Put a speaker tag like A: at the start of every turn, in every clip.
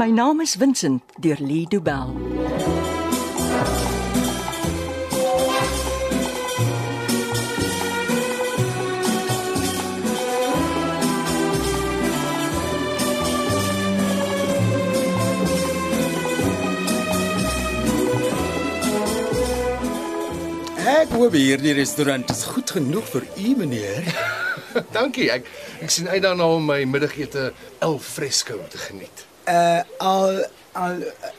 A: My naam is Vincent deur Lee Du Bell.
B: Ek hoop hierdie restaurant is goed genoeg vir u, meneer.
C: Dankie. Ek ek sien uit daarna om my middagete al fresco te geniet.
B: Uh al al eh,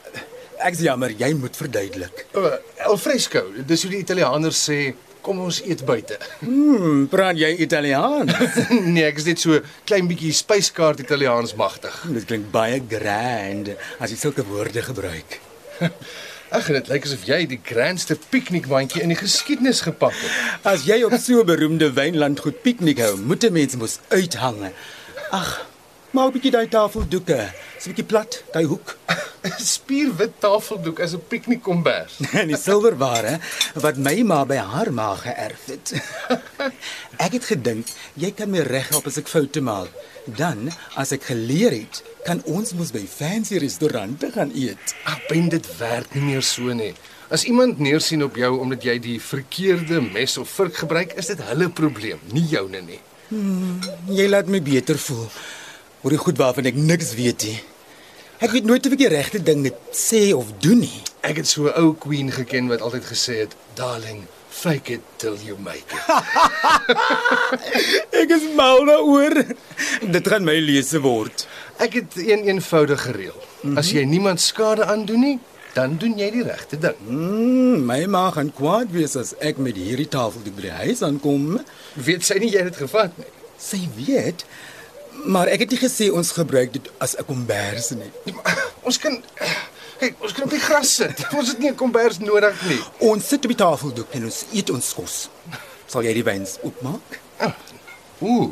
B: ek is jammer, jy moet verduidelik.
C: O, al fresco, dis hoe die Italianers sê, kom ons eet buite.
B: Hmm, praat jy Italiaans?
C: nee, ek is net so klein bietjie spyskaart Italiaans magtig.
B: Dit klink baie grand as jy sulke woorde gebruik.
C: Ag, dit lyk asof jy die grandste piknikmandjie in die geskiedenis gepak het.
B: As jy op so 'n beroemde wynland goed piknik hou, moet 'n mens mos uithange. Ag, maar 'n bietjie daai tafeldoeke, so 'n bietjie plat, daai hoek
C: 'n Spierwit tafeldoek as 'n piknikkombers.
B: en die silwerware wat my ma by haar ma geërf het. Ek het gedink jy kan my reghelp as ek foute maak. Dan, as ek geleer het, kan ons mos by fancy restaurante gaan eet.
C: Ag, Ben, dit werk nie meer so nie. As iemand neersien op jou omdat jy die verkeerde mes of vurk gebruik, is dit hulle probleem, nie joune nie.
B: Jy laat my beter voel oor die goed waarvan ek niks weet nie. Ek weet nooit of ek die regte ding moet sê of doen nie.
C: Ek het so 'n ou queen geken wat altyd gesê het, "Darling, fake it till you make it."
B: Ek is mal daaroor. Dit gaan my lese word.
C: Ek het een eenvoudige reël. As jy niemand skade aandoen nie, dan doen jy die regte ding.
B: Mm, my ma gaan kwaad wees as ek met hierdie tafeldoek by die huis aankom.
C: Weet sy nie jy het dit gevat nie.
B: Sy weet, maar ek het nie gesê ons gebruik dit as 'n kombers nie.
C: Nee, maar, Ons kan kyk, ons kan op die gras sit. Ons het nie 'n kombers nodig nie.
B: Ons sit op die tafeldoek en ons eet ons kos. Sal jy die wyns oopmaak?
C: Ooh.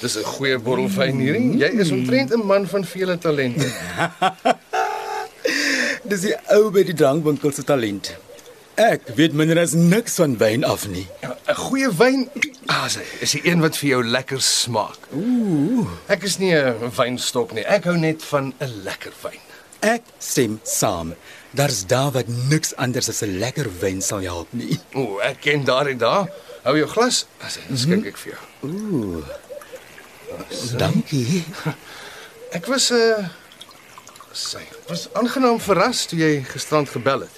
C: Dis 'n goeie bottel wyn hierdie. Jy is omtrent 'n man van vele talente.
B: Dis die ou by die drankwinkel se talent. Ek weet minder as niks van wyn af nie.
C: Ja, 'n Goeie wyn ah, sy, is die een wat vir jou lekker smaak.
B: Ooh,
C: Ek is nie 'n wynstok nie. Ek hou net van 'n lekker wyn.
B: ek stem saam. Daar's daar wat niks anders as 'n lekker wyn sal help nie.
C: O, ek ken daardie daar. Hou jou glas. As dit skink ek vir jou.
B: Dankie.
C: Ek was 'n uh, sy was aangenaam verras toe jy gisterand gebel het.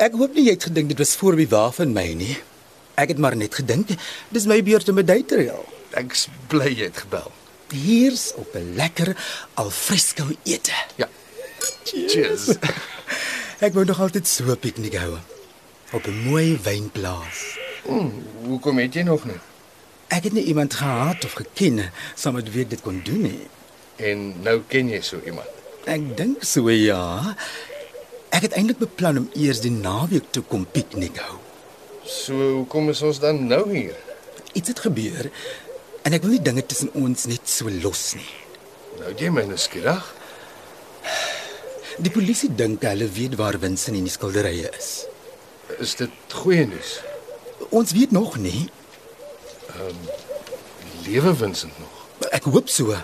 B: Ek hoop nie jy het gedink dit was voor die wa van my nie. Ek het maar net gedink dis my beurt om 'n date te reël.
C: Ek's bly jy het gebel.
B: Hier's op 'n lekker alfresco ete.
C: Ja. Cheers.
B: Ek wou nog altyd so 'n piknik hou op 'n mooi wynplaas.
C: Hm, Hoekom het jy nog nie?
B: Ek het nie iemand gehad of geken saam met wie ek dit kon doen nie.
C: En nou ken jy so iemand.
B: Ek dink so ja. Ek het eintlik beplan om eers die naweek toe kom piknik hou.
C: So hoekom is ons dan nou hier?
B: Iets het gebeur en ek wil nie dinge tussen ons net so los nie.
C: Nou jy my nuuskierig.
B: Die polisie dink hulle weet waar Winsin en die skilderye is.
C: Is dit goeie nuus?
B: Ons weet nog nie.
C: Lewe Vincent nog.
B: Ek hoop so.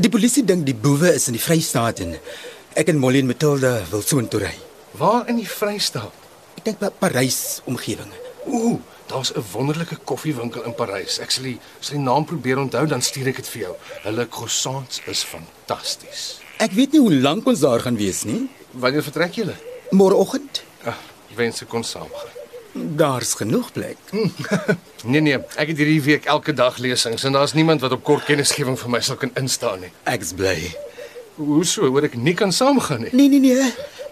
B: Die polisie dink die boewe is in die Vrystaat en ek en Molly en Matilda wil soontoe ry.
C: Waar in die Vrystaat?
B: Ek dink by Parys omgewing.
C: Ooh, daar's 'n wonderlike koffiewinkel in Parys. Ek sal die sal die naam probeer onthou dan stuur ek dit vir jou. Hulle croissants is fantasties.
B: Ek weet nie hoe lank ons daar gaan wees nie.
C: Wanneer vertrek julle?
B: Môreoggend?
C: Ag, wens ek kon saamgaan.
B: Daar's genoeg plek.
C: Nee nee, ek het hierdie week elke dag lesings en daar's niemand wat op kort kennisgewing vir my sal kan instaan nie.
B: Ek's bly.
C: Hoe so, hoor ek nie kan saamgaan nie.
B: Nee nee nee.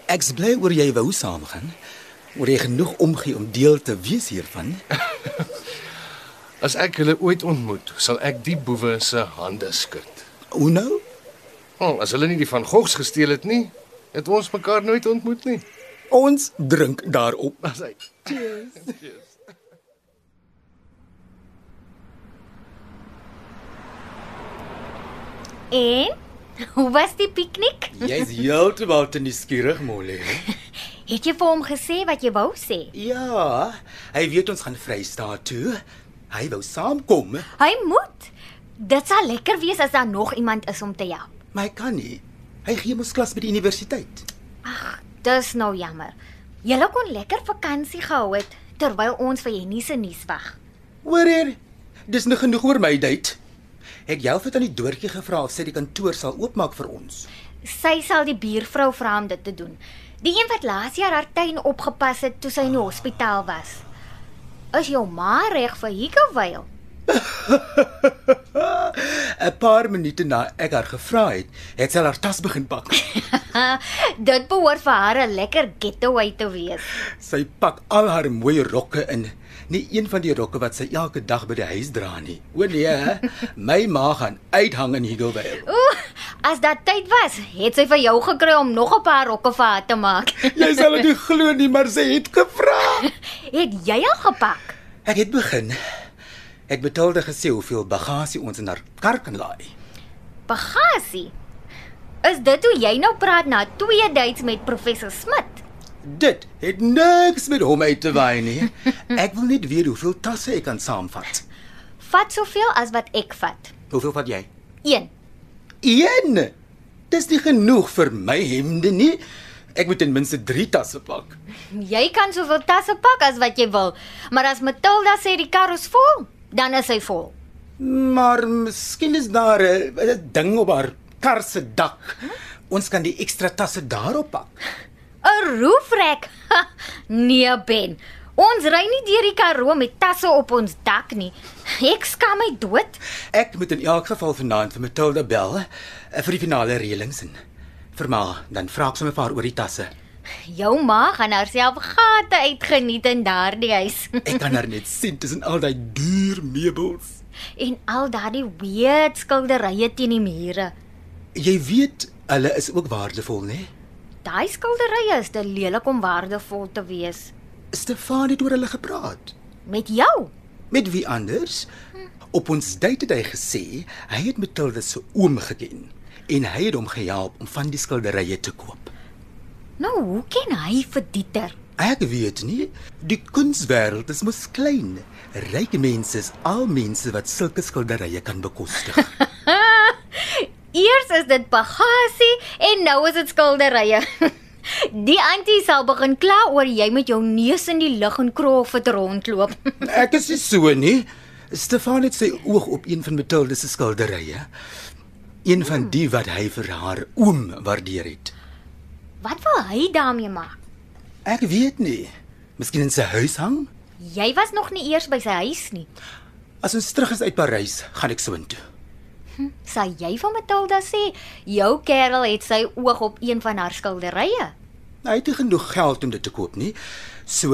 B: Ek's bly oor jy wou saamgaan. Oor jy genoeg omgee om deel te wees hiervan.
C: As ek hulle ooit ontmoet, sal ek die boewe se hande skud.
B: Hoe nou?
C: Oh, as hulle nie die van Gogs gesteel het nie, het ons mekaar nooit ontmoet nie.
B: Ons drink daarop.
C: As hy
D: En hoe was die piknik?
B: Jy's heeltemal te nuuskierig, Molly.
D: Het jy vir hom gesê wat jy wou sê?
B: Ja, hy weet ons gaan Vrystaat toe. Hy wou saamkom,
D: Hy moet. Dit sal lekker wees as daar nog iemand is om te help.
B: maar hy kan nie. Hy gee mos klas by die universiteit.
D: Ag, dis nou jammer. Julle kon lekker vakansie gehou het terwyl ons vir Jenny se nuus wag.
B: Hoor hier. Dis nog genoeg oor my date. Ek jou het aan die doortjie gevra of sy die kantoor sal oopmaak vir ons.
D: Sy sal die buurvrou vra om dit te doen. Die een wat laas jaar haar tuin opgepas het toe sy in die hospitaal was. Is jou ma reg vir Hikewyl?
B: 'n Paar minute na ek haar gevra het, het sy al haar tas begin pak.
D: Dit behoort vir haar 'n lekker getaway te wees.
B: Sy pak al haar mooi rokke in. Nie een van die rokke wat sy elke dag by die huis dra nie. O nee, hè? my ma gaan uithang in Higgovale.
D: Ooh, as dit tyd was, het sy vir jou gekry om nog 'n paar rokke vir haar te maak.
B: Jy sal dit nie glo nie, maar sy het gevra.
D: Het jy al gepak?
B: Ek het begin. Ek betaalde gesê hoeveel bagasie ons in haar kar kan laai.
D: Bagasie. Is dit hoe jy nou praat na twee dates met professor Smit?
B: Dit het niks met hom uit te waai nie. Ek wil net weet hoeveel tasse ek kan saamvat.
D: Vat soveel as wat ek vat.
B: Hoeveel vat jy?
D: 1.
B: Een. Dis nie genoeg vir my hemde nie. Ek moet ten minste 3 tasse pak.
D: Jy kan soveel tasse pak as wat jy wil, maar as Matilda sê die kar is vol, dan is hy vol.
B: Maar miskien is daar 'n 'n ding op haar kar se dak. Ons kan die ekstra tasse daarop pak.
D: 'n Roofrek. Ha, nee, Ben. Ons ry nie deur die Karoo met tasse op ons dak nie. Ek skam my dood.
B: Ek moet in elk geval vanaand vir Matilda bel eh, vir die finale reëlings en vir ma, dan vra ek sommer vir haar oor die tasse.
D: Jou ma gaan haarself gate uitgeniet in daardie huis
B: Ek kan haar net sien tussen al daai duur meubels.
D: en al daardie weird skilderye teen die mure.
B: Jy weet, hulle is ook waardevol, né?
D: Daai skilderye is te lelik om waardevol te wees
B: Stefan het oor hulle gepraat.
D: met jou.
B: Met wie anders? Op ons date het hy gesê hy het Matilda se oom geken en hy het hom gehelp om van die skilderye te koop.
D: Nou, hoe ken hy vir Dieter?
B: Ek weet nie, die kunswêreld is mos klein. Ryke mense is al mense wat sulke skilderye kan bekostig.
D: Eers is dit bagasie en nou is dit skilderye. Die antie sal begin kla oor jy met jou neus in die lug en krof het rondloop.
B: Ek is nie so nie. Stefan het sy oog op een van Matilda se skilderye. Een van die wat hy vir haar oom waardeer het.
D: Wat wil hy daarmee maak?
B: Ek weet nie. Miskien in sy huis hang?
D: Jy was nog nie eers by sy huis nie.
B: As ons terug is uit Parys, gaan ek soontoe.
D: Sal jy vir Matilda sê jou kerel het sy oog op een van haar skilderye?
B: Hy het nie genoeg geld om dit te koop nie. So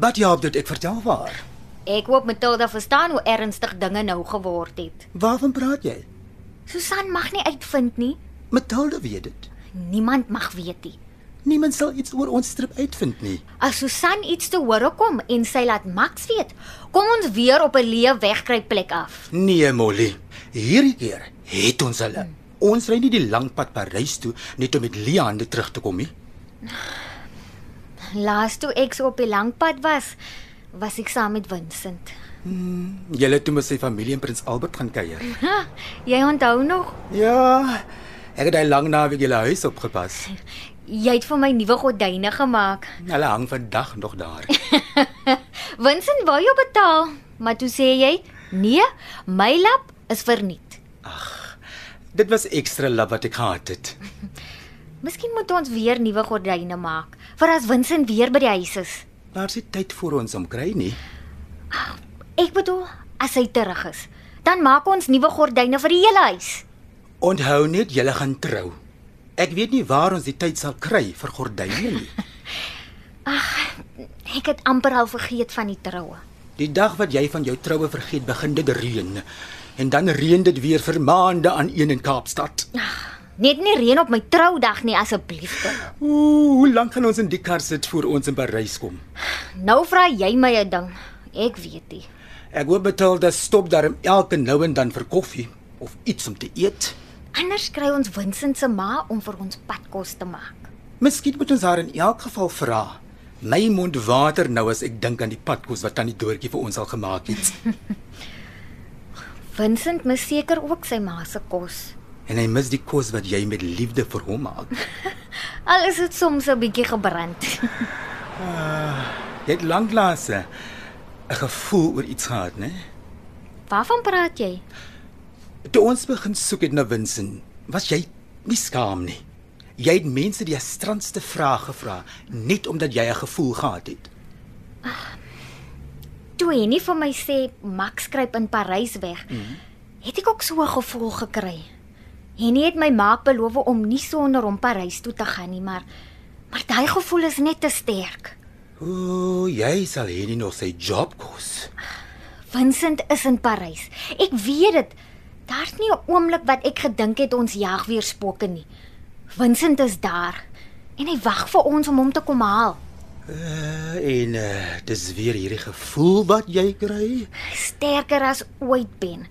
B: wat ja, dit ek vertel waar.
D: Ek hoop Matilda verstaan hoe ernstig dinge nou geword het.
B: Waarvan praat jy?
D: Susan mag nie uitvind nie.
B: Matilda weet dit.
D: Niemand mag weet nie.
B: Niemand sal iets oor ons strip uitvind nie.
D: As Susan iets te hore kom en sy laat Max weet, kom ons weer op 'n leeu wegkruip plek af.
B: Nee, Molly. Hierdie keer het ons hulle. Ons ry nie die lang pad Parys toe net om met Leande terug te kom nie.
D: Laas toe ek so op die lang pad was, was ek saam met Vincent.
B: Julle toe met sy familie in Prins Albert gaan kuier.
D: Ha, jy onthou nog?
B: Ja. Ek het daai lang naweek julle huis opgepas.
D: Jy het vir my nuwe gordyne gemaak.
B: Hulle hang vandag nog daar.
D: Vincent wou jou betaal, maar toe sê jy, "Nee, my lap is verniet."
B: Dit was ekstra love wat ek gehad het.
D: Miskien moet ons weer nuwe gordyne maak vir as Vincent weer by die huis is.
B: Daar se tyd vir ons om kry nie.
D: Ek bedoel, as hy terug is, dan maak ons nuwe gordyne vir die hele huis.
B: Onthou net julle gaan trou. Ek weet nie waar ons die tyd sal kry vir gordyne nie.
D: Ek het amper al vergeet van die troue.
B: Die dag wat jy van jou troue vergeet, begin dit reën. En dan reën dit weer vir maande aan een in Kaapstad.
D: Net nie reën op my troudag nie asseblief. kind.
B: Ooh, hoe lank gaan ons in die kar sit voor ons in Parys kom?
D: Nou vra jy my 'n ding. Ek weet nie.
B: Ek hoop Matilda stop daarom elke nou en dan vir koffie of iets om te eet.
D: Anders kry ons Vincent se ma om vir ons padkos te maak.
B: Miskien moet ons haar in elk geval vra. My mond water nou as ek dink aan die padkos wat tannie Doortjie vir ons al gemaak het.
D: Vincent mis seker ook sy ma se kos.
B: en hy mis die kos wat jy met liefde vir hom maak.
D: Al is dit soms 'n bietjie gebrand.
B: Jy het lanklaas eh, 'n gevoel oor iets gehad, né?
D: Waarvan praat jy?
B: Toe ons begin soek het na Winsin, was jy nie skaam nie. Jy het mense die strandste vrae gevra net omdat jy 'n gevoel gehad het.
D: Toe hy nie vir my sê Max skryp in Parys weg, het ek ook so 'n gevoel gekry. Henny het my maak beloof om nie sonder hom Parys toe te gaan nie, maar maar daai gevoel is net te sterk.
B: O, jy sal hier nie nog sy job kos.
D: Vincent is in Parys. Ek weet dit. Daar's nie 'n oomblik wat ek gedink het ons jag weer spooke nie. Vincent is daar en hy wag vir ons om hom te kom haal.
B: Uh, en uh, dis weer hierdie gevoel wat jy kry.
D: Sterker as ooit ben.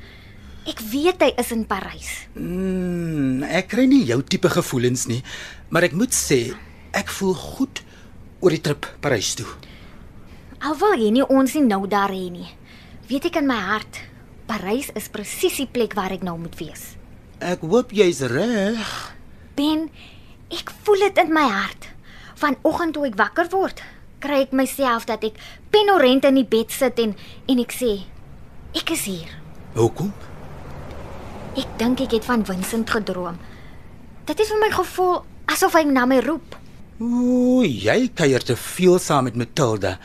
D: Ek weet hy is in Parys.
B: Mm, ek kry nie jou tipe gevoelens nie, maar ek moet sê, ek voel goed oor die trip Parys toe.
D: Alhoewel jy nie ons nie nou daar hê nie. Weet ek in my hart, Parys is presies die plek waar ek nou moet wees.
B: Ek hoop jy's reg.
D: Ben, ek voel dit in my hart. Vanoggend toe ek wakker word, kry ek myself dat ek penorent in die bed sit en en ek sê, ek is hier.
B: Hoekom?
D: Ek dink ek het van Vincent gedroom. Dit het vir my gevoel asof hy na my roep.
B: O, jy kuier te veel saam met Matilda.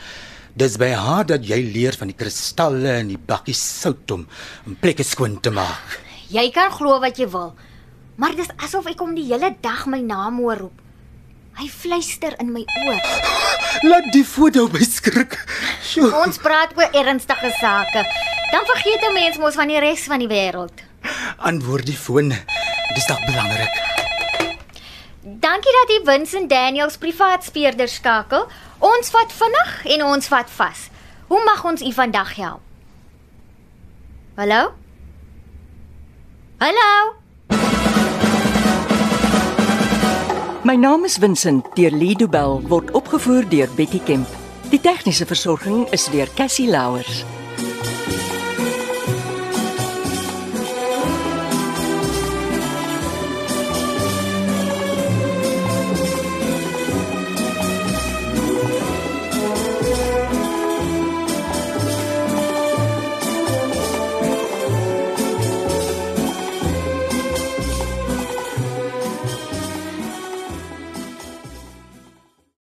B: Dis by haar dat jy leer van die kristalle en die bakkies sout om om plekke skoon te maak.
D: Jy kan glo wat jy wil, maar dis asof ek hom die hele dag my naam hoor roep. Hy fluister in my oor.
B: Laat die foto my skrik. Sjoe.
D: Ons praat oor ernstige sake. Dan vergeet 'n mens mos van die res van die wêreld.
B: Antwoord die foon. Dis dalk belangrik.
D: Dankie dat jy Vincent Daniels privaat speurder skakel. Ons vat vinnig en ons vat vas. Hoe mag ons u vandag help? Hallo? Hallo?
A: My naam is Vincent deur Lido Bell word opgevoer deur Betty Kemp. Die tegniese versorging is deur Cassie Louers.